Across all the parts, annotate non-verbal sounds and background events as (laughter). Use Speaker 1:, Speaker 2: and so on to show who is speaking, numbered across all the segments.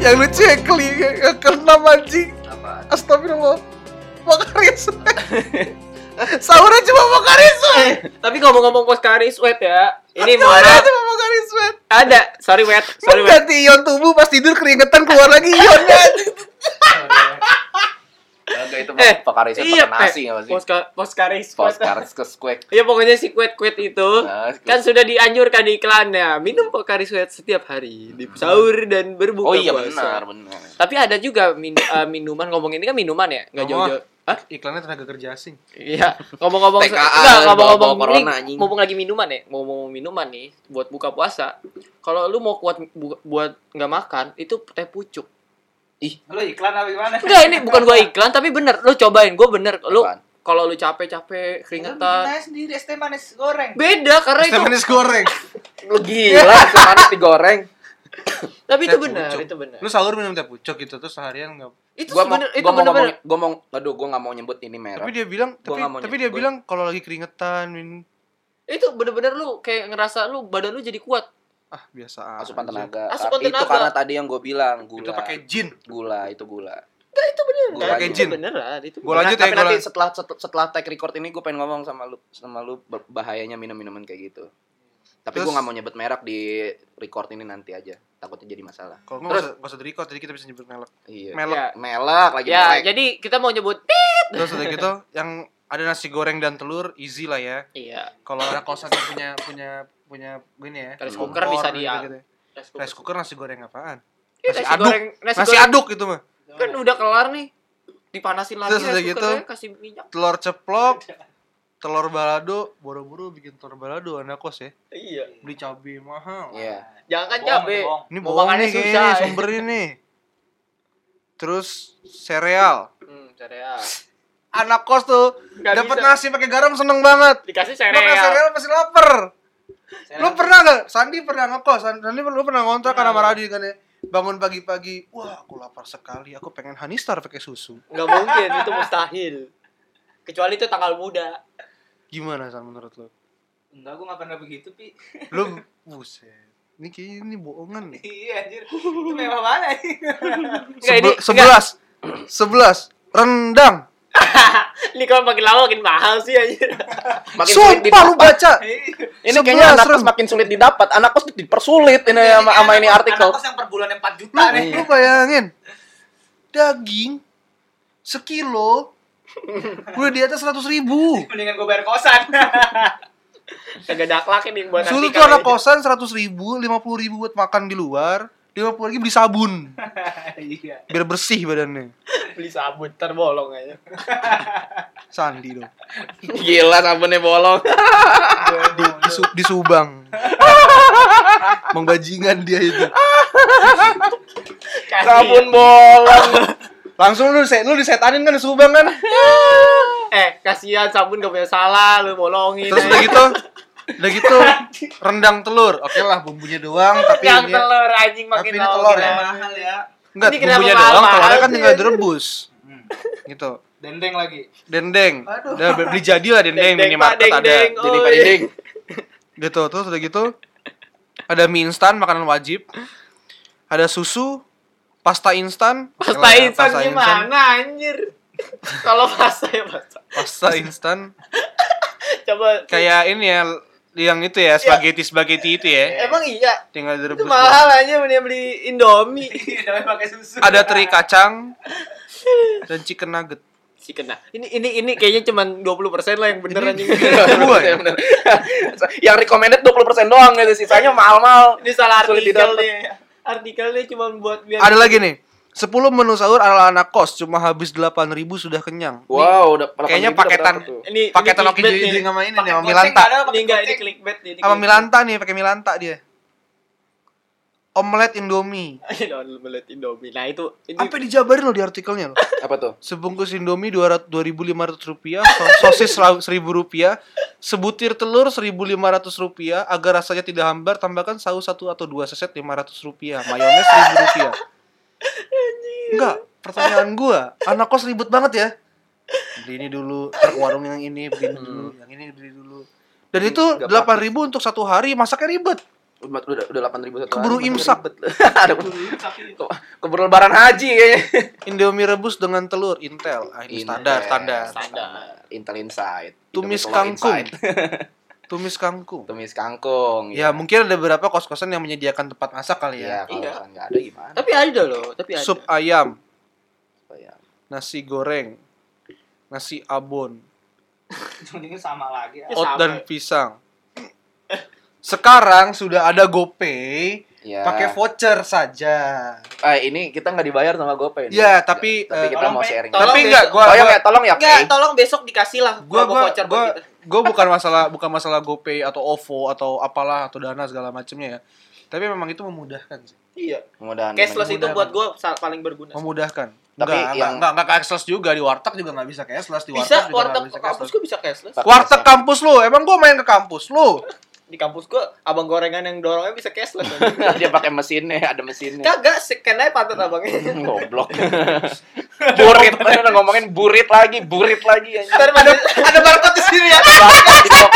Speaker 1: Yang lucu ya keli yang keenam anjing.
Speaker 2: Apa?
Speaker 1: Astagfirullah. Makaris. Sahurnya cuma makaris.
Speaker 3: Eh, tapi ngomong-ngomong Oscaris wet ya. Ini mohon
Speaker 1: Sahurnya
Speaker 3: maaf,
Speaker 1: cuma makaris. Wet.
Speaker 3: ada. Sorry wet, sorry wet.
Speaker 1: Ganti ion tubuh pas tidur keringetan keluar lagi ionnya. anjing.
Speaker 2: Kagak itu
Speaker 3: Eh,
Speaker 2: mah Pakarisnya
Speaker 3: iya,
Speaker 2: terkena nasi nggak sih?
Speaker 3: Oscaris.
Speaker 2: Poskaris ke squeak.
Speaker 3: Ya pokoknya si kuet-kuet itu
Speaker 2: Nah,
Speaker 3: kan sudah dianjurkan di iklannya minum Pocari Sweat setiap hari di sahur dan berbuka
Speaker 2: Hmm. Oh iya
Speaker 3: puasa.
Speaker 2: benar, benar.
Speaker 3: Tapi ada juga min- eh, minuman ngomong ini kan minuman ya, nggak
Speaker 2: Oh.
Speaker 1: Ngomong.
Speaker 3: jauh-jauh. Hah?
Speaker 1: Iklannya tenaga kerja asing.
Speaker 3: Iya, ngomong-ngomong
Speaker 2: TKA,
Speaker 3: enggak, ngomong-ngomong
Speaker 2: ah, bawa-bawa corona,
Speaker 3: ini,
Speaker 2: anjing.
Speaker 3: mumpung lagi minuman ya, mau mau minuman nih buat buka puasa. Kalau lu mau kuat bu- buat nggak makan, itu teh pucuk.
Speaker 4: Lu iklan apa gimana?
Speaker 3: Enggak, ini bukan gua iklan tapi bener, lu cobain, gua bener. Lu
Speaker 2: Apaan?
Speaker 3: kalau lu capek-capek keringetan.
Speaker 4: Saya sendiri es teh manis goreng.
Speaker 3: Beda karena itu.
Speaker 1: Stefanis goreng.
Speaker 2: Lu gila, semanis digoreng.
Speaker 3: Tapi itu
Speaker 1: Teh
Speaker 3: benar,
Speaker 1: pucuk.
Speaker 3: itu benar.
Speaker 1: Lu sahur minum teh pucuk gitu terus seharian nggak
Speaker 3: Itu
Speaker 2: Gua mau
Speaker 3: sebenar itu
Speaker 2: gua mau ngomong,
Speaker 3: benar-benar.
Speaker 2: gua mau aduh gua nggak mau nyebut ini merah.
Speaker 1: tapi dia bilang
Speaker 2: Gua
Speaker 1: tapi,
Speaker 2: nggak mau
Speaker 1: tapi
Speaker 2: nyebut,
Speaker 1: dia
Speaker 2: gua-
Speaker 1: bilang kalau lagi keringetan minum
Speaker 3: Itu benar-benar lu kayak ngerasa lu badan lu jadi kuat.
Speaker 1: ah biasa
Speaker 2: Asupan
Speaker 1: aja.
Speaker 2: tenaga.
Speaker 3: Asupan
Speaker 2: Tapi itu
Speaker 3: tenaga.
Speaker 2: karena tadi yang gua bilang gula.
Speaker 1: itu pakai jin
Speaker 2: gula, itu gula.
Speaker 3: Itu benar.
Speaker 2: Gua lanjut.
Speaker 3: Nah, Itu beneran, itu.
Speaker 1: Gua lanjut ya,
Speaker 2: tapi
Speaker 1: gua
Speaker 2: nanti
Speaker 1: lanjut.
Speaker 2: setelah setelah, setelah take record ini gue pengen ngomong sama lu sama lu ber- bahayanya minum minuman kayak gitu. Tapi gue
Speaker 1: Terus-
Speaker 2: nggak mau nyebut merek di record ini nanti aja. Takutnya jadi masalah.
Speaker 1: kalau nggak
Speaker 3: Terus-
Speaker 1: usah- nggak usah di record jadi kita bisa nyebut melek
Speaker 2: Iya.
Speaker 1: melek
Speaker 3: Ya.
Speaker 2: Melek lagi
Speaker 3: Ya,
Speaker 2: melek.
Speaker 3: jadi kita mau nyebut
Speaker 1: terus udah gitu yang ada nasi goreng dan telur easy lah ya
Speaker 3: Iya,
Speaker 1: kalau ada kosan yang punya punya punya gini ya
Speaker 3: rice
Speaker 2: Hmm.
Speaker 3: cooker
Speaker 1: kompor
Speaker 3: bisa dia.
Speaker 1: gitu-gitu. ya.
Speaker 3: Rice
Speaker 1: rice cooker nasi goreng apaan
Speaker 3: Iya,
Speaker 1: nasi
Speaker 3: nasi
Speaker 1: aduk.
Speaker 3: goreng, nasi,
Speaker 1: nasi
Speaker 3: goreng
Speaker 1: aduk itu mah
Speaker 3: kan udah kelar nih. Dipanasin lagi
Speaker 1: Terus
Speaker 3: rice
Speaker 1: udah gitu.
Speaker 3: cookernya, kasih minyak.
Speaker 1: telur
Speaker 3: (laughs)
Speaker 1: ceplok telur balado boro-boro bikin telur balado anak kos ya
Speaker 3: Iya.
Speaker 1: beli cabai mahal
Speaker 2: Iya.
Speaker 3: Jangan kan
Speaker 4: Bohong,
Speaker 3: cabe.
Speaker 4: bohong.
Speaker 1: ini
Speaker 3: Mau
Speaker 1: bohong
Speaker 3: makannya
Speaker 1: nih kayaknya
Speaker 3: susah,
Speaker 1: nih,
Speaker 3: ya.
Speaker 1: sumber ini terus sereal
Speaker 3: Hmm, cereal.
Speaker 1: anak kos tuh
Speaker 3: Nggak
Speaker 1: dapat
Speaker 3: bisa.
Speaker 1: nasi pakai garam seneng banget
Speaker 3: Dikasih
Speaker 1: makan
Speaker 3: cereal.
Speaker 1: sereal pasti lapar
Speaker 4: Saya
Speaker 1: lu pernah gak Sandi pernah ngekos Sandi Sandi, lu pernah ngontrak kan sama Radi kan ya bangun pagi-pagi wah aku lapar sekali aku pengen Hanistar pakai susu
Speaker 3: Enggak mungkin, itu mustahil. Kecuali itu tanggal muda.
Speaker 1: gimana San menurut lu
Speaker 4: Enggak, gue gak pernah begitu, Pi. (laughs)
Speaker 1: lu buset ini kayaknya ini bohongan nih
Speaker 4: iya, anjir. Itu memang mana sih?
Speaker 3: Nggak, ini-
Speaker 1: Sebe- sebelas sebelas rendang
Speaker 3: Ini kalau makin lama makin mahal sih anjir.
Speaker 2: Makin sulit
Speaker 1: sumpah lu
Speaker 2: didapat.
Speaker 1: baca
Speaker 2: Ini kayaknya
Speaker 1: Sebelas,
Speaker 2: anak kos
Speaker 1: Ren.
Speaker 2: makin sulit didapat. Anak kos dipersulit ini Nah, sama, sama ini artikel.
Speaker 4: Anak kos yang per bulan 4 juta
Speaker 1: lu,
Speaker 4: nih.
Speaker 1: lu bayangin daging sekilo udah di atas seratus ribu
Speaker 4: (laughs) Mendingan gue bayar kosan. (laughs)
Speaker 3: Kagak daklak ini buat
Speaker 1: Suruh
Speaker 3: nanti
Speaker 1: tuh
Speaker 3: kali
Speaker 1: anak
Speaker 3: ini.
Speaker 1: kosan seratus ribu, lima puluh ribu buat makan di luar, lima puluh lagi beli
Speaker 3: (laughs)
Speaker 1: sabun
Speaker 4: Iya.
Speaker 1: biar bersih badannya.
Speaker 3: beli sabun ntar bolong aja.
Speaker 1: Sandi dong.
Speaker 2: Gila sabunnya bolong.
Speaker 1: Di, di, Su- di
Speaker 3: (laughs)
Speaker 1: Subang. Membajingan dia itu.
Speaker 3: Kasih.
Speaker 2: Sabun bolong.
Speaker 1: Langsung lu diset, lu disetanin kan di Subang kan.
Speaker 3: Eh, kasihan sabun gak punya salah, lu bolongin.
Speaker 1: Terus udah gitu, udah gitu rendang telur. Oke lah bumbunya doang, tapi
Speaker 3: yang
Speaker 1: ini ya.
Speaker 3: telur anjing makin
Speaker 1: Tapi ini
Speaker 3: lama
Speaker 1: telur
Speaker 3: makin
Speaker 1: ya.
Speaker 3: lama.
Speaker 4: Mahal ya.
Speaker 1: enggak
Speaker 3: ini kenapa Hmm.
Speaker 1: bumbunya doang,
Speaker 3: mahal
Speaker 1: telurnya kan
Speaker 3: sih?
Speaker 1: tinggal direbus. Gitu.
Speaker 4: Dendeng lagi.
Speaker 1: Dendeng.
Speaker 4: Aduh.
Speaker 1: Udah beli jadi lah dendeng,
Speaker 3: Dendeng, Pak,
Speaker 1: minimarket ada.
Speaker 3: dendeng.
Speaker 2: Jadi
Speaker 3: Oh,
Speaker 2: Pak
Speaker 3: iya.
Speaker 2: (laughs) Dinding.
Speaker 1: gitu terus udah gitu ada mie instan makanan wajib ada susu pasta instan
Speaker 3: Pasta
Speaker 1: Elah,
Speaker 3: instan
Speaker 1: pasta instan,
Speaker 3: gimana anjir? (laughs) Kalau pasta ya pasta.
Speaker 1: pasta instan
Speaker 3: Coba
Speaker 1: kayak ini ya yang itu ya spaghetti spaghetti itu ya
Speaker 3: Emang iya,
Speaker 1: tinggal
Speaker 3: itu
Speaker 1: direbus
Speaker 3: mahal aja mending beli
Speaker 4: (laughs)
Speaker 3: Indomie.
Speaker 4: Iya, Namanya pakai susu.
Speaker 1: ada teri kacang dan chicken nugget
Speaker 3: Si kena. Ini ini ini kayaknya cuman 20% lah yang bener anjing.
Speaker 1: Gua ya?
Speaker 2: Bener. (laughs) Yang recommended 20% doang gitu, sisanya mahal-mahal.
Speaker 3: Ini salah
Speaker 2: Sulit
Speaker 3: artikel
Speaker 2: didapat.
Speaker 3: nih. Artikelnya cuma buat biar
Speaker 1: ada lagi nih 10 menu sahur ala anak kos cuma habis 8000 sudah kenyang
Speaker 2: Wow, udah
Speaker 1: kayaknya
Speaker 2: 8.000 udah
Speaker 1: paketan
Speaker 2: berapa tuh?
Speaker 3: ini
Speaker 1: paketan
Speaker 3: ini
Speaker 1: oke
Speaker 3: clickbait
Speaker 1: jadi
Speaker 3: nih.
Speaker 1: sama ini nih
Speaker 4: Pakai
Speaker 1: sama
Speaker 4: goceng
Speaker 1: Milanta
Speaker 4: nggak ada, pakai
Speaker 3: Ini enggak ini
Speaker 4: goceng.
Speaker 3: clickbait nih. ini
Speaker 1: sama
Speaker 3: clickbait.
Speaker 1: Milanta nih pakai Milanta dia omelet indomie
Speaker 3: Ayo dong, melihat Indomie. Nah, itu ini
Speaker 1: sampai dijabarin loh di artikelnya loh
Speaker 2: Apa tuh?
Speaker 1: sebungkus indomie 200 2.500 rupiah, so- sosis 1.000 rupiah, sebutir telur 1.500 rupiah, agar rasanya tidak hambar, tambahkan saus satu atau dua seset 500 rupiah, mayones 1.000 rupiah. Enggak, pertanyaan gua, anak kos ribet banget ya. Beli ini dulu, ntar ke warung Hmm. yang ini, beli dulu, yang ini beli dulu. Dan itu
Speaker 2: Nggak
Speaker 1: 8.000 untuk satu hari, masaknya ribet.
Speaker 2: udah udah udah delapan ribu satu
Speaker 1: Keburu
Speaker 2: hari,
Speaker 1: imsak.
Speaker 2: ribet. (laughs) ada ke- keburu lebaran haji kayaknya
Speaker 1: Indomie rebus dengan telur Intel. Ah, ini standar, standar.
Speaker 2: standar Intel Inside
Speaker 1: (laughs) Tumis
Speaker 2: Indomie Telur
Speaker 1: kangkung.
Speaker 2: Inside.
Speaker 1: Tumis kangkung.
Speaker 2: (laughs) tumis kangkung
Speaker 1: Ya, mungkin ada beberapa kos-kosan yang menyediakan tempat masak kali ya.
Speaker 2: Iya, kalau
Speaker 3: Iya.
Speaker 2: misalnya nggak ada gimana
Speaker 3: Tapi ada loh, tapi ada.
Speaker 1: Sup ayam,
Speaker 2: Ya.
Speaker 1: nasi goreng, nasi abon,
Speaker 4: Ujung-ujungnya sama lagi. ah.
Speaker 1: ot dan pisang. Sekarang sudah ada GoPay,
Speaker 2: Ya.
Speaker 1: pakai voucher saja.
Speaker 2: Eh, ini kita nggak dibayar sama GoPay. nih.
Speaker 1: Ya, tapi,
Speaker 2: Iya, tapi
Speaker 1: eh,
Speaker 2: kita
Speaker 4: tolong,
Speaker 2: mau
Speaker 4: Pe.
Speaker 2: sharing.
Speaker 3: Tolong,
Speaker 1: Tapi
Speaker 3: Pe.
Speaker 1: enggak gua
Speaker 2: tolong
Speaker 1: gua-
Speaker 2: ya, tolong ya,
Speaker 3: Enggak,
Speaker 2: Pei.
Speaker 3: tolong besok dikasih lah
Speaker 1: gua
Speaker 3: promo
Speaker 1: gua
Speaker 3: voucher buat
Speaker 1: gua,
Speaker 3: kita.
Speaker 1: gua bukan masalah bukan masalah GoPay atau OVO atau apalah atau Dana segala macamnya ya. Tapi memang itu memudahkan sih.
Speaker 3: Iya.
Speaker 2: Mudah-mudahan.
Speaker 3: Cashless itu
Speaker 1: Mudah-mudahan.
Speaker 3: buat gua sa- paling berguna.
Speaker 1: Memudahkan. enggak,
Speaker 2: Tapi
Speaker 1: enggak,
Speaker 2: yang-
Speaker 1: enggak, enggak cashless juga di warteg juga enggak bisa cashless di warteg
Speaker 3: Bisa
Speaker 1: kan juga nggak
Speaker 3: warteg
Speaker 1: bisa
Speaker 3: kampus
Speaker 1: cashless.
Speaker 3: gua bisa cashless.
Speaker 1: Warteg kampus lu, emang gua main ke kampus lu.
Speaker 3: Di kampus gua abang gorengan yang dorongnya bisa cashless.
Speaker 2: dia pakai mesinnya, ada mesinnya.
Speaker 3: Kagak scan aja pantat abangnya.
Speaker 2: Goblok. burit, tadi udah ngomongin burit lagi, burit lagi. anjing.
Speaker 1: ada
Speaker 3: Ntar pada
Speaker 1: (laughs) ada barcode di sini ya.
Speaker 2: Barcode di bawah.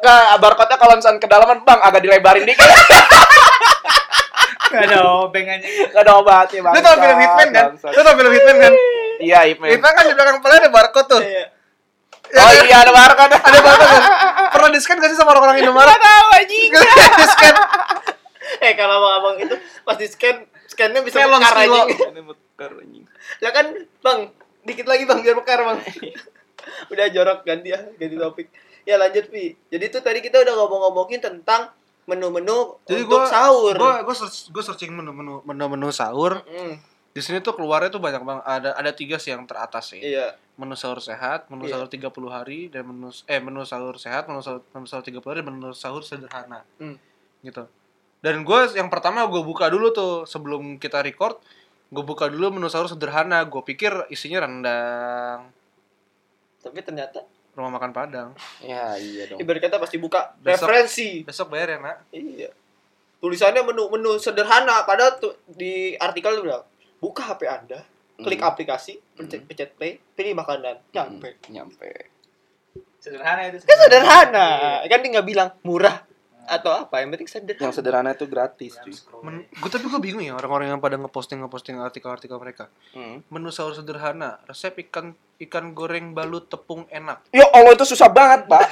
Speaker 2: Nggak, barcode-nya kalau misalnya kedalaman, bang, agak dilebarin dikit.
Speaker 4: Nggak ada obeng aja.
Speaker 2: Gak ada obatnya, bang.
Speaker 1: Lu tau film Hitman kan? Lu tau film Hitman kan?
Speaker 2: Iya, Hitman.
Speaker 1: Hitman kan di belakang kepala ada barcode tuh.
Speaker 3: Iya.
Speaker 2: Oh iya, ada barcode.
Speaker 1: Ada barcode kan? Pernah di-scan gak sih sama orang-orang Indomaret?
Speaker 2: tahu, anjing.
Speaker 1: Di-scan.
Speaker 3: Eh kalau abang abang itu pas di scan scannya bisa
Speaker 1: Melon
Speaker 3: mekar
Speaker 1: sekilo.
Speaker 3: anjing. Ya kan bang, dikit lagi bang biar mekar
Speaker 1: (laughs)
Speaker 3: bang. udah jorok ganti ya ganti topik. Ya lanjut Pi. Jadi itu tadi kita udah ngomong-ngomongin tentang menu-menu
Speaker 1: Jadi
Speaker 3: untuk
Speaker 1: gua-
Speaker 3: sahur.
Speaker 1: Gue gue search, gua searching menu-menu menu-menu sahur.
Speaker 3: Mm,
Speaker 1: Di sini tuh keluarnya tuh banyak banget. Ada ada tiga sih yang teratas sih.
Speaker 3: iya.
Speaker 1: Menu sahur sehat, menu
Speaker 3: Iya.
Speaker 1: sahur 30 hari dan menu eh menu sahur sehat, menu sahur, menu sahur 30 hari dan menu sahur sederhana.
Speaker 3: Hmm.
Speaker 1: Gitu. Dan gue yang pertama gue buka dulu tuh sebelum kita record, gue buka dulu menu sahur sederhana. Gue pikir isinya rendang,
Speaker 3: Tapi ternyata
Speaker 1: rumah makan Padang.
Speaker 2: Iya, iya dong.
Speaker 3: ibarat kata pasti buka
Speaker 1: Besok.
Speaker 3: referensi.
Speaker 1: Besok bayar ya, Nak.
Speaker 3: Iya. Tulisannya menu-menu sederhana padahal tuh di artikel udah buka HP Anda, klik
Speaker 2: Hmm.
Speaker 3: aplikasi, pencet,
Speaker 2: Hmm.
Speaker 3: pencet play, pilih makanan, nyampe.
Speaker 2: Nyampe.
Speaker 4: Sederhana itu. Iya.
Speaker 3: Kan
Speaker 2: Iya,
Speaker 3: sederhana. Kan dia nggak bilang murah atau apa, yang penting sederhana.
Speaker 2: Yang sederhana itu gratis, cuy.
Speaker 1: Men- gua tapi gue bingung ya orang-orang yang pada ngeposting ngeposting artikel-artikel mereka.
Speaker 2: Hmm.
Speaker 1: Menu sahur sederhana, resep ikan ikan goreng balut tepung enak.
Speaker 2: Ya Allah itu susah banget, Pak.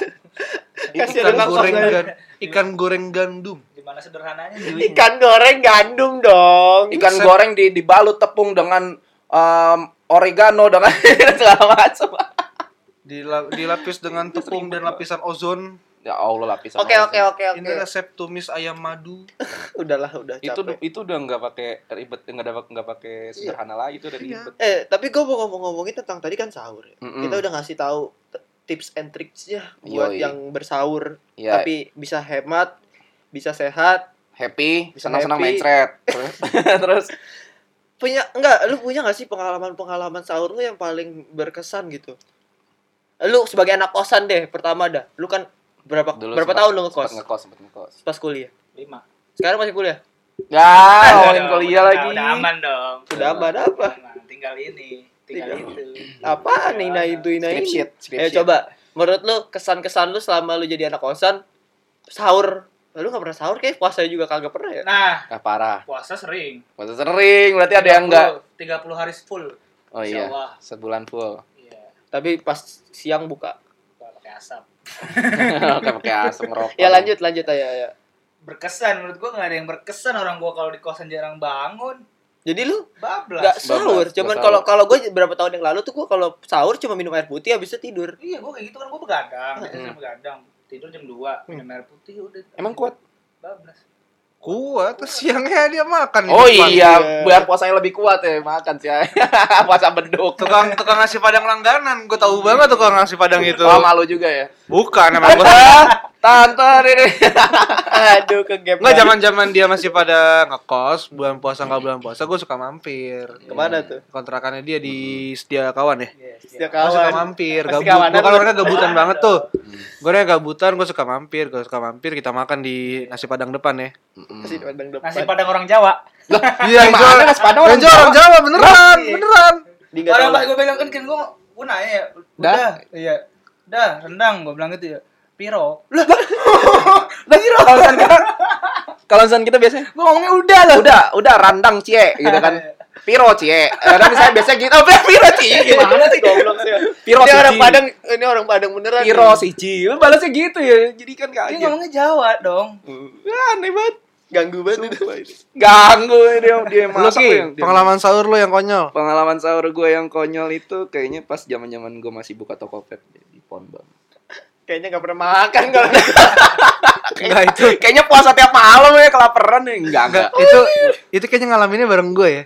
Speaker 2: Iya,
Speaker 3: Kasih
Speaker 1: ikan
Speaker 3: ada
Speaker 1: goreng
Speaker 3: langsung.
Speaker 1: gan- ikan goreng gandum
Speaker 4: Gimana sederhananya? Jui?
Speaker 3: Ikan goreng gandum dong.
Speaker 2: Ikan
Speaker 1: Set.
Speaker 2: goreng di dibalut tepung dengan em, oregano dengan (laughs) segala macam.
Speaker 1: Dila- dilapis dengan tepung dan lapisan ozon
Speaker 2: Ya Allah lapisan.
Speaker 3: Oke oke oke
Speaker 1: ini
Speaker 3: oke.
Speaker 1: resep tumis ayam madu
Speaker 3: Udahlah udah capek.
Speaker 2: Itu itu udah nggak pakai ribet nggak dapat nggak pakai sederhana lagi itu udah
Speaker 1: Iya.
Speaker 2: ribet.
Speaker 3: eh tapi gue mau ngomong-ngomongin tentang tadi kan sahur. ya.
Speaker 2: Mm-mm.
Speaker 3: Kita udah ngasih tahu t- tips and tricksnya buat
Speaker 2: Hmm. Yoi.
Speaker 3: yang bersaur
Speaker 2: Ya,
Speaker 3: tapi bisa hemat, bisa sehat,
Speaker 2: happy,
Speaker 3: Bisa
Speaker 2: senang-senang
Speaker 3: happy. (laughs)
Speaker 2: main thread. Terus- (laughs) Terus
Speaker 3: punya enggak lu punya nggak sih pengalaman-pengalaman sahur lu yang paling berkesan gitu lu sebagai anak kosan deh pertama dah lu kan berapa berapa
Speaker 2: sempat-
Speaker 3: tahun lu
Speaker 2: sempat
Speaker 3: ngekos
Speaker 2: Ngekos, sempat ngekos.
Speaker 3: pas kuliah
Speaker 4: Lima.
Speaker 3: sekarang masih kuliah
Speaker 2: Ya, ngomongin
Speaker 4: Udah dong,
Speaker 2: kuliah
Speaker 4: udah-
Speaker 2: lagi.
Speaker 4: Udah aman dong.
Speaker 3: udah apa ada apa
Speaker 4: Aman, Tinggal ini. Tinggal
Speaker 3: Tinggal.
Speaker 4: itu.
Speaker 3: apaan nih nah
Speaker 4: Tinggal
Speaker 3: itu nah
Speaker 2: Script
Speaker 3: ini
Speaker 2: sheet, script
Speaker 3: ayo
Speaker 2: sheet.
Speaker 3: coba menurut lu kesan-kesan lu selama lu jadi anak kosan sahur lu nggak pernah sahur kayak puasa juga kagak pernah ya
Speaker 4: Nah,
Speaker 2: Ah, parah.
Speaker 4: puasa sering.
Speaker 2: Masa sering berarti ada yang enggak.
Speaker 4: 30 hari full.
Speaker 2: Oh iya,
Speaker 4: Syawal.
Speaker 2: sebulan full. (laughs)
Speaker 4: Iya.
Speaker 3: tapi pas siang buka
Speaker 4: nggak Pakai asap.
Speaker 2: Oke, pakai asam rokok.
Speaker 3: ya lanjut lanjut ayo, ayo.
Speaker 4: Berkesan menurut gua nggak ada yang berkesan orang gua kalau di kosan jarang bangun.
Speaker 3: jadi lu Gak
Speaker 4: Bablas.
Speaker 3: sahur,
Speaker 2: Bablas, nggak
Speaker 3: cuman
Speaker 2: sahur.
Speaker 3: kalau kalau gue berapa tahun yang lalu tuh gue kalau sahur cuma minum air putih habis itu
Speaker 4: (laughs)
Speaker 3: tidur.
Speaker 4: Iya, gua kayak gitu kan gua begadang, biasanya
Speaker 2: Mm.
Speaker 4: saya begadang. Tidur jam 2, minum air putih udah.
Speaker 2: Hmm. Emang kuat?
Speaker 4: Bablas.
Speaker 1: kuat (laughs) terus siangnya dia makan di
Speaker 2: Oh
Speaker 1: depan.
Speaker 2: iya, biar puasanya lebih kuat ya (laughs) makan sih. Puasa beduk.
Speaker 1: tukang tukang nasi padang langganan gue tahu banget tukang nasi padang itu
Speaker 2: Oh, malu juga ya.
Speaker 1: bukan emang gue
Speaker 2: (laughs) Tante ini.
Speaker 3: Aduh ke gap.
Speaker 1: nggak zaman zaman dia masih pada ngekos bulan puasa nggak bulan puasa gue suka mampir
Speaker 3: Kemana tuh?
Speaker 1: kontrakannya dia di setia kawan ya
Speaker 4: Yes,
Speaker 2: Iya.
Speaker 3: Setiap
Speaker 1: Gue suka
Speaker 3: kawan.
Speaker 1: mampir,
Speaker 3: Pasti
Speaker 1: gabut.
Speaker 3: kawanan
Speaker 1: Gue kan
Speaker 3: lu.
Speaker 1: orangnya
Speaker 3: (laughs)
Speaker 1: gabutan
Speaker 4: Kawanan
Speaker 1: banget
Speaker 4: dong.
Speaker 1: tuh. Gue orangnya gabutan, gue suka mampir, gue suka mampir. Kita makan di nasi padang depan ya.
Speaker 3: Masih pandang depan.
Speaker 4: Nasi padang orang Jawa.
Speaker 1: Iya, itu
Speaker 2: Gimana nasi padang orang
Speaker 1: itu orang Jawa beneran,
Speaker 4: Iya.
Speaker 1: beneran.
Speaker 3: Di nggak
Speaker 4: Orang
Speaker 3: tahu.
Speaker 4: pas gua bilang kan kan gua gua nanya ya.
Speaker 2: Dah?
Speaker 4: Udah, iya. Udah, rendang gua bilang gitu ya. Piro.
Speaker 2: (laughs) Kira kalau san kita, kalau san kita biasanya
Speaker 4: Gue ngomongnya udah lah.
Speaker 2: udah udah randang cie gitu (laughs) kan. Piro cie. Kadang (laughs) saya biasanya gitu, oh, piro cie gitu.
Speaker 3: Gimana sih goblok sih?
Speaker 2: Piro
Speaker 3: ini orang
Speaker 2: siji.
Speaker 3: Padang, ini orang Padang beneran.
Speaker 2: Piro
Speaker 3: nih. gitu.
Speaker 2: siji. Balasnya gitu ya. Jadi kan
Speaker 4: Dia
Speaker 2: kaget.
Speaker 4: ngomongnya Jawa dong.
Speaker 2: Ah, aneh banget.
Speaker 3: Ganggu banget itu.
Speaker 2: Ganggu dia dia
Speaker 1: Lu
Speaker 2: masak
Speaker 1: Ki,
Speaker 2: yang dia-
Speaker 1: pengalaman sahur lo yang konyol.
Speaker 2: pengalaman sahur gue yang konyol itu kayaknya pas zaman-zaman gue masih buka Tokopet di Ponbang.
Speaker 3: Kayaknya gak pernah makan kalau
Speaker 2: (laughs) Enggak
Speaker 1: (laughs)
Speaker 2: itu. Kayaknya puasa tiap malam ya kelaparan ya. Enggak, enggak.
Speaker 1: itu
Speaker 2: iya.
Speaker 1: itu kayaknya ngalaminnya bareng gue ya.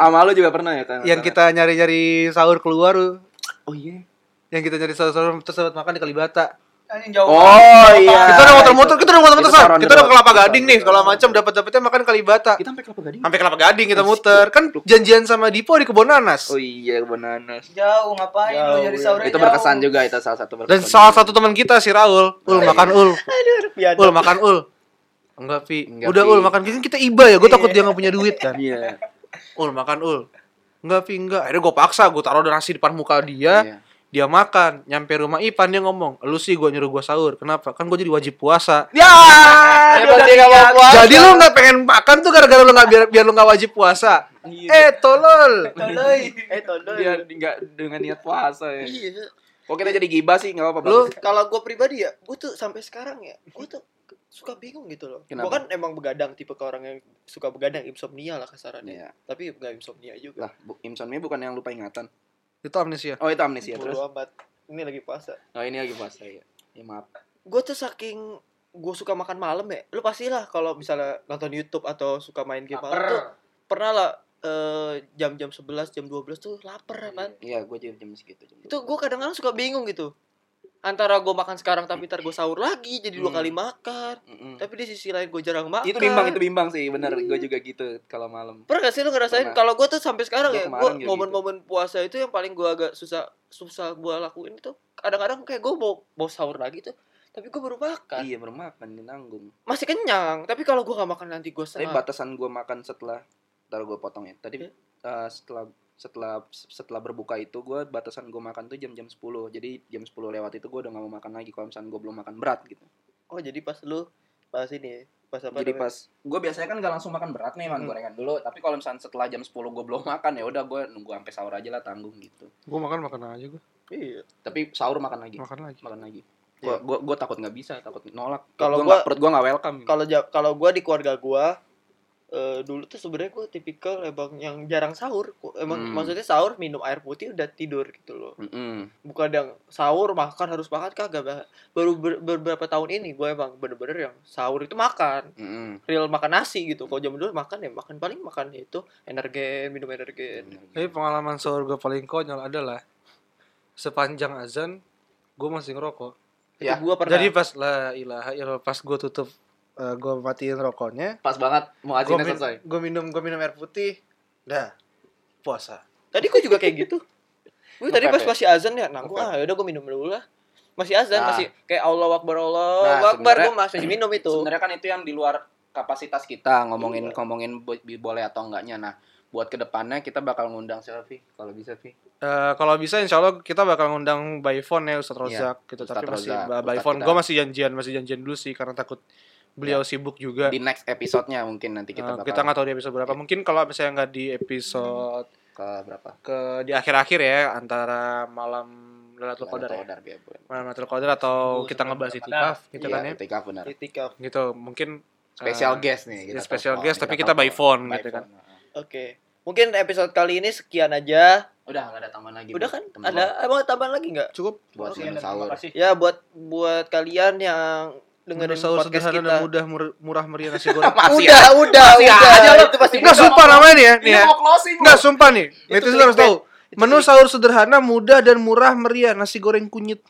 Speaker 2: Nah, Sama lu juga pernah ya kan?
Speaker 1: Yang kita nyari-nyari sahur keluar, lu.
Speaker 2: Oh iya.
Speaker 1: yang kita nyari sahur-sahur terus sempat makan di Kalibata.
Speaker 4: Anjing Jawa.
Speaker 2: Oh iya.
Speaker 1: kita udah motor-motor,
Speaker 2: Itu-
Speaker 1: kita udah motor-motor,
Speaker 2: itu
Speaker 1: Sar.
Speaker 2: saran Gitu.
Speaker 1: kita udah
Speaker 2: doang.
Speaker 1: kelapa gading nih, segala macam dapat-dapatnya makan Kalibata.
Speaker 2: Kita sampai kelapa gading.
Speaker 1: Sampai kelapa gading kita muter. Kan janjian sama Dipo di kebun nanas.
Speaker 2: Oh iya bananas.
Speaker 4: Jauh ngapain lu
Speaker 3: Jauh,
Speaker 4: nyari
Speaker 3: iya.
Speaker 4: sahurnya
Speaker 2: Itu
Speaker 4: jauh.
Speaker 2: berkesan juga itu salah satu berkesan.
Speaker 1: Dan salah satu teman kita si Raul, Ul makan Ul.
Speaker 3: biasa.
Speaker 2: (laughs)
Speaker 1: Ul makan Ul. Enggak, Pi.
Speaker 2: Nah, iya. Enggak, Iya.
Speaker 1: Udah
Speaker 2: Pi.
Speaker 1: Ul makan Kan kita iba ya, gue takut dia nggak punya duit kan.
Speaker 2: Iya.
Speaker 1: Ul makan Ul. Enggak, Pi, enggak. Akhirnya gue paksa, gue taruh nasi depan muka dia.
Speaker 2: Iya.
Speaker 1: Dia makan, nyampe rumah Ipan dia ngomong, "Lu sih gue nyuruh gue sahur. Kenapa? Kan gue jadi wajib puasa."
Speaker 2: Ya.
Speaker 3: Hebat sih kamu puasa.
Speaker 1: Jadi lu nggak pengen makan tuh gara-gara lu nggak biar biar lu nggak wajib puasa.
Speaker 4: Iya.
Speaker 1: Eh tolol.
Speaker 4: Toloi.
Speaker 3: Eh tolong.
Speaker 2: Dia enggak dengan niat puasa ya.
Speaker 3: Iya.
Speaker 2: Kok kita jadi gibah sih enggak apa-apa.
Speaker 1: Lu
Speaker 2: bagus.
Speaker 3: Kalau gue pribadi ya, gue tuh sampai sekarang ya, gue tuh suka bingung gitu loh. Gue
Speaker 2: Kenapa?
Speaker 3: kan emang begadang tipe ke orang yang suka begadang insomnia lah kasarannya.
Speaker 2: Iya.
Speaker 3: Tapi nggak insomnia juga.
Speaker 2: Lah, Bu- insomnia bukan yang lupa ingatan.
Speaker 1: itu amnesia.
Speaker 2: Oh, itu amnesia terus.
Speaker 3: Bodo amat. Ini lagi puasa.
Speaker 2: Oh, ini lagi puasa ya. Ya maaf.
Speaker 3: gue tuh saking gue suka makan malam ya lu pastilah kalau misalnya nonton YouTube atau suka main game
Speaker 4: iya,
Speaker 3: malam tuh
Speaker 4: Laper.
Speaker 3: pernah lah eh, jam-jam 11 jam 12 tuh lapar kan
Speaker 2: Iya, gue juga jam segitu. Jam
Speaker 3: itu gue kadang-kadang suka bingung gitu antara gue makan sekarang tapi ntar gue sahur lagi jadi dua
Speaker 2: Hmm.
Speaker 3: kali makan
Speaker 2: Mm-mm.
Speaker 3: tapi di sisi lain gue jarang makan
Speaker 2: Itu bimbang, itu bimbang sih. Benar, gue juga gitu kalau malam.
Speaker 3: pernah gak sih lu ngerasain
Speaker 2: Pernah.
Speaker 3: kalau gue tuh sampai sekarang
Speaker 2: Gua
Speaker 3: ya
Speaker 2: kemarin gitu.
Speaker 3: gue
Speaker 2: juga
Speaker 3: momen-momen puasa itu yang paling gue agak susah susah gue lakuin itu kadang-kadang kayak gue mau mau sahur lagi tuh tapi gue baru makan
Speaker 2: Iya, baru makan nanggung.
Speaker 3: masih kenyang tapi kalau gue gak makan nanti gue
Speaker 2: Tapi
Speaker 3: setengah
Speaker 2: batasan gue makan setelah Ntar gue potong ya Tadi eh, setelah setelah setelah berbuka itu gue batasan gue makan tuh jam-jam 10 Jadi jam 10 lewat itu gue udah gak mau makan lagi Kalau misalnya gue belum makan berat gitu
Speaker 3: Oh jadi pas lu pas ini ya, pas apa?
Speaker 2: Jadi
Speaker 3: namanya?
Speaker 2: pas Gue biasanya kan gak langsung makan berat nih Makan
Speaker 3: Hmm.
Speaker 2: gorengan dulu Tapi kalau misalnya setelah jam 10 gue belum makan ya udah gue nunggu sampai sahur aja lah tanggung gitu
Speaker 1: Gue makan makan aja gue.
Speaker 3: Iya.
Speaker 2: Tapi sahur makan lagi
Speaker 1: Makan lagi.
Speaker 2: Makan lagi Gue gue takut nggak bisa, takut nolak.
Speaker 3: Kalau
Speaker 2: Kalau
Speaker 3: gua-
Speaker 2: perut gue nggak welcome.
Speaker 3: Kalau ja- kalau gua di keluarga gua eh, dulu tuh sebenarnya gua tipikal emang yang jarang sahur. Gua- Emang
Speaker 2: Hmm.
Speaker 3: maksudnya sahur minum air putih udah tidur gitu loh.
Speaker 2: Mm-mm.
Speaker 3: Bukan yang sahur makan harus makan kagak. Bah. Baru ber- beberapa tahun ini gua emang bener-bener yang sahur itu makan
Speaker 2: Mm-mm.
Speaker 3: real makan nasi gitu. Kalau zaman dulu makan ya makan paling makan ya itu energen minum energen.
Speaker 1: Tapi pengalaman sahur gue paling konyol adalah sepanjang azan gue masih ngerokok.
Speaker 2: Ya,
Speaker 3: Itu gua pernah.
Speaker 1: Jadi pas la ilaha illallah pas gue tutup gue matiin rokoknya.
Speaker 2: Pas banget mau
Speaker 1: Gue
Speaker 2: azinnya selesai.
Speaker 1: minum gue minum air putih. Dah puasa.
Speaker 3: Tadi gue juga kayak
Speaker 2: (laughs)
Speaker 3: gitu. Gue tadi pas
Speaker 2: Ngepep ya?
Speaker 3: masih azan ya, nah gue
Speaker 2: Ngepep.
Speaker 3: ah yaudah gue minum dulu lah. Masih azan,
Speaker 2: Nah.
Speaker 3: masih kayak Allah Akbar Allah
Speaker 2: Nah,
Speaker 3: Akbar
Speaker 2: sebenarnya-
Speaker 3: gue masih minum itu.
Speaker 2: Sebenarnya kan itu yang di luar kapasitas kita
Speaker 3: Gitu.
Speaker 2: ngomongin
Speaker 3: Iya.
Speaker 2: ngomongin bo- bi- boleh atau enggaknya. Nah, buat kedepannya kita bakal ngundang siapa Vi? Kalau bisa Vi.
Speaker 1: Eh, kalau bisa insya Allah kita bakal ngundang by phone ya Ustadz
Speaker 2: Iya,
Speaker 1: Rozak gitu.
Speaker 2: Ustadz
Speaker 1: Tapi masih
Speaker 2: Rozak,
Speaker 1: by
Speaker 2: Ustadz
Speaker 1: phone.
Speaker 2: kita.
Speaker 1: Gue masih janjian masih janjian dulu sih karena takut beliau sibuk juga.
Speaker 2: Di next episode-nya mungkin nanti kita
Speaker 1: Eh,
Speaker 2: bakal
Speaker 1: Iya. kita nggak tahu di episode berapa. Mungkin kalau misalnya nggak di episode
Speaker 2: ke berapa?
Speaker 1: ke di akhir-akhir ya antara malam Lailatul Qadar ya.
Speaker 2: Qadar ya. Bu.
Speaker 1: Malam Lailatul Qadar atau
Speaker 4: Sebelum
Speaker 1: kita ngebahas
Speaker 4: Ramadan.
Speaker 1: itikaf gitu
Speaker 2: Iya,
Speaker 1: kan ya.
Speaker 2: Itikaf benar.
Speaker 3: Itikaf.
Speaker 1: Gitu, mungkin
Speaker 2: Special
Speaker 1: eh,
Speaker 2: guest gitu nih
Speaker 1: ya,
Speaker 2: telepon,
Speaker 1: special guest, tapi kita
Speaker 2: telepon.
Speaker 1: by phone
Speaker 2: By
Speaker 1: gitu kan.
Speaker 2: phone. nah.
Speaker 3: Oke. Mungkin episode kali ini sekian aja.
Speaker 2: Udah enggak ada tambahan lagi.
Speaker 3: Udah
Speaker 2: Bu.
Speaker 3: kan?
Speaker 2: Teman
Speaker 3: Ada emang tambahan lagi nggak?
Speaker 1: cukup
Speaker 2: gua Buat
Speaker 4: Oke,
Speaker 2: menu
Speaker 4: dan terima
Speaker 2: sahur.
Speaker 4: kasih.
Speaker 3: Ya buat buat kalian yang dengerin
Speaker 1: Menu sahur
Speaker 3: podcast
Speaker 1: sederhana
Speaker 3: kita.
Speaker 1: dan mudah mur- murah meriah nasi goreng.
Speaker 2: Masih
Speaker 3: udah, udah,
Speaker 2: Masih
Speaker 3: udah.
Speaker 2: aja lu.
Speaker 3: itu pasti
Speaker 1: Enggak sumpah namanya nih ya, nih ya.
Speaker 2: Ini mau closing. Bu.
Speaker 4: Nah,
Speaker 1: Enggak sumpah nih. Netizen harus
Speaker 3: clickbait.
Speaker 1: tahu. Menu sahur sederhana, mudah dan murah meriah nasi goreng kunyit.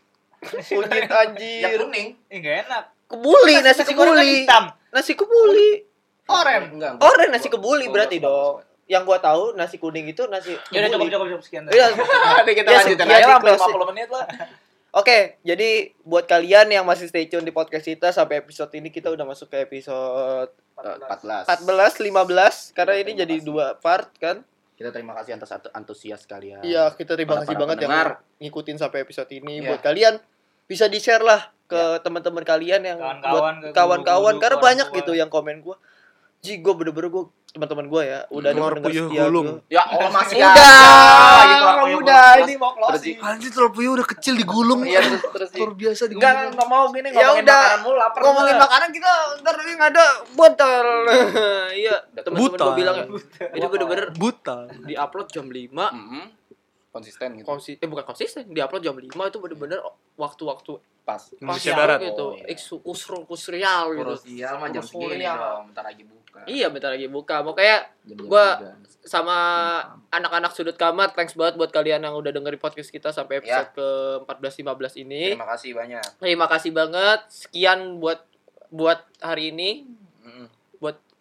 Speaker 3: kunyit
Speaker 2: Yang
Speaker 3: anjir.
Speaker 2: kuning.
Speaker 4: Ih, nggak enak.
Speaker 3: Kebuli nasi
Speaker 4: goreng kan
Speaker 3: kebuli.
Speaker 4: hitam.
Speaker 3: Nasi kebuli.
Speaker 4: Oren.
Speaker 2: Enggak. Bu.
Speaker 3: Oren nasi
Speaker 2: Gua-
Speaker 3: kebuli
Speaker 2: gua-
Speaker 3: berarti
Speaker 2: gua- gua-
Speaker 3: dong. Yang gua tahu nasi kuning itu nasi
Speaker 4: Ya udah cukup
Speaker 3: kebuli.
Speaker 4: cukup cukup sekian.
Speaker 3: Iya,
Speaker 2: Nanti kita
Speaker 3: Ya,
Speaker 2: lanjutin
Speaker 4: iya,
Speaker 3: sekian
Speaker 2: aja lah
Speaker 3: di
Speaker 2: sampai
Speaker 3: closing.
Speaker 2: 50 menit lah.
Speaker 3: Oke, jadi buat kalian yang masih stay tune di podcast kita sampai episode ini kita udah masuk ke episode
Speaker 2: 14.
Speaker 3: 14, 15 karena ini
Speaker 2: Terima
Speaker 3: jadi
Speaker 2: kasih.
Speaker 3: dua part kan.
Speaker 2: Kita terima kasih atas antu- antusias kalian.
Speaker 3: Iya, kita terima
Speaker 2: Nah, Para-
Speaker 3: kasih
Speaker 2: para
Speaker 3: banget yang
Speaker 2: pendengar.
Speaker 3: ngikutin sampai episode ini.
Speaker 2: Iya.
Speaker 3: Buat kalian bisa di-share lah ke ke teman-teman kalian yang buat
Speaker 4: Kawan-kawan ke
Speaker 3: kawan-kawan
Speaker 4: guru-guru,
Speaker 3: karena
Speaker 4: ke orang
Speaker 3: banyak
Speaker 4: tua.
Speaker 3: gitu yang komen gua. Ji, gue bener-bener gue teman-teman gue ya udah ada
Speaker 1: Keluar
Speaker 3: pendengar
Speaker 1: puyuh
Speaker 3: setia
Speaker 1: gulung.
Speaker 3: gua. Ah, iya,
Speaker 2: Ya, oh, masih
Speaker 3: Udah,
Speaker 4: Ah,
Speaker 2: ada. Ayo, keluar,
Speaker 3: udah,
Speaker 2: ayo, keluar.
Speaker 3: ini mau closing.
Speaker 1: Anjir telur puyuh udah kecil digulung.
Speaker 2: Iya, terus terus Ji.
Speaker 1: Luar biasa digulung.
Speaker 4: Enggak, enggak mau gini
Speaker 3: Ya
Speaker 4: ngomongin
Speaker 3: udah.
Speaker 4: makanan mulu lapar.
Speaker 3: Ngomongin
Speaker 4: gua.
Speaker 3: makanan kita ntar lagi nggak ada botol. Iya, teman-teman
Speaker 1: Buta.
Speaker 3: gue bilang ya.
Speaker 4: Buta.
Speaker 3: Jadi bener-bener
Speaker 1: Buta.
Speaker 3: diupload jam 5
Speaker 2: Mhm. Konsisten gitu. Iya.
Speaker 3: konsis eh bukan konsisten diupload jam 5 itu bener-bener waktu-waktu
Speaker 2: Pas.
Speaker 1: Indonesia
Speaker 3: siang
Speaker 1: Barat.
Speaker 3: gitu
Speaker 2: Oh, iya.
Speaker 3: Iksu- usrul kusrial gitu
Speaker 2: Krusial mah jam
Speaker 3: Terus
Speaker 2: segini
Speaker 3: ini apa?
Speaker 2: dong, bentar lagi buka.
Speaker 3: iya bentar lagi buka makanya
Speaker 2: Jam-jam
Speaker 3: Gua-
Speaker 2: tiga.
Speaker 3: sama anak-anak sudut kamar thanks banget buat kalian yang udah dengerin podcast kita sampai episode ke 14 15 ini
Speaker 2: Iya. Terima kasih banyak.
Speaker 3: terima kasih banget sekian buat buat hari ini
Speaker 2: Mhm.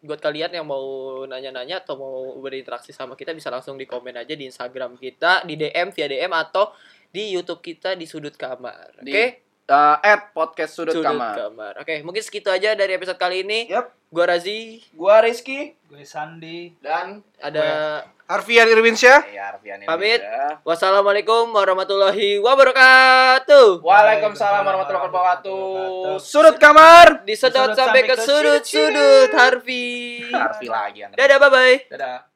Speaker 3: buat kalian yang mau nanya-nanya atau mau berinteraksi sama kita bisa langsung di komen aja di Instagram kita di DM via DM atau di YouTube kita di sudut kamar oke
Speaker 2: Di Eh, at podcast sudut,
Speaker 3: sudut kamar,
Speaker 2: kamar.
Speaker 3: oke mungkin segitu aja dari episode kali ini
Speaker 2: Yap.
Speaker 3: gua Razi
Speaker 2: Gua Rizky
Speaker 4: Gue Sandi.
Speaker 2: dan
Speaker 3: ada
Speaker 1: Harfian Irwinsyah.
Speaker 2: Iya, Arfian
Speaker 3: Pamit.
Speaker 2: Indonesia.
Speaker 3: wassalamualaikum warahmatullahi wabarakatuh
Speaker 2: Waalaikumsalam warahmatullahi wabarakatuh.
Speaker 1: Sudut kamar.
Speaker 3: disedot
Speaker 4: Disedot
Speaker 3: sampai
Speaker 4: sampai
Speaker 3: ke
Speaker 4: ke
Speaker 3: sudut-sudut Harvey.
Speaker 2: Arfi lagi. Andre.
Speaker 3: Eh, Dadah bye bye.
Speaker 2: Dadah.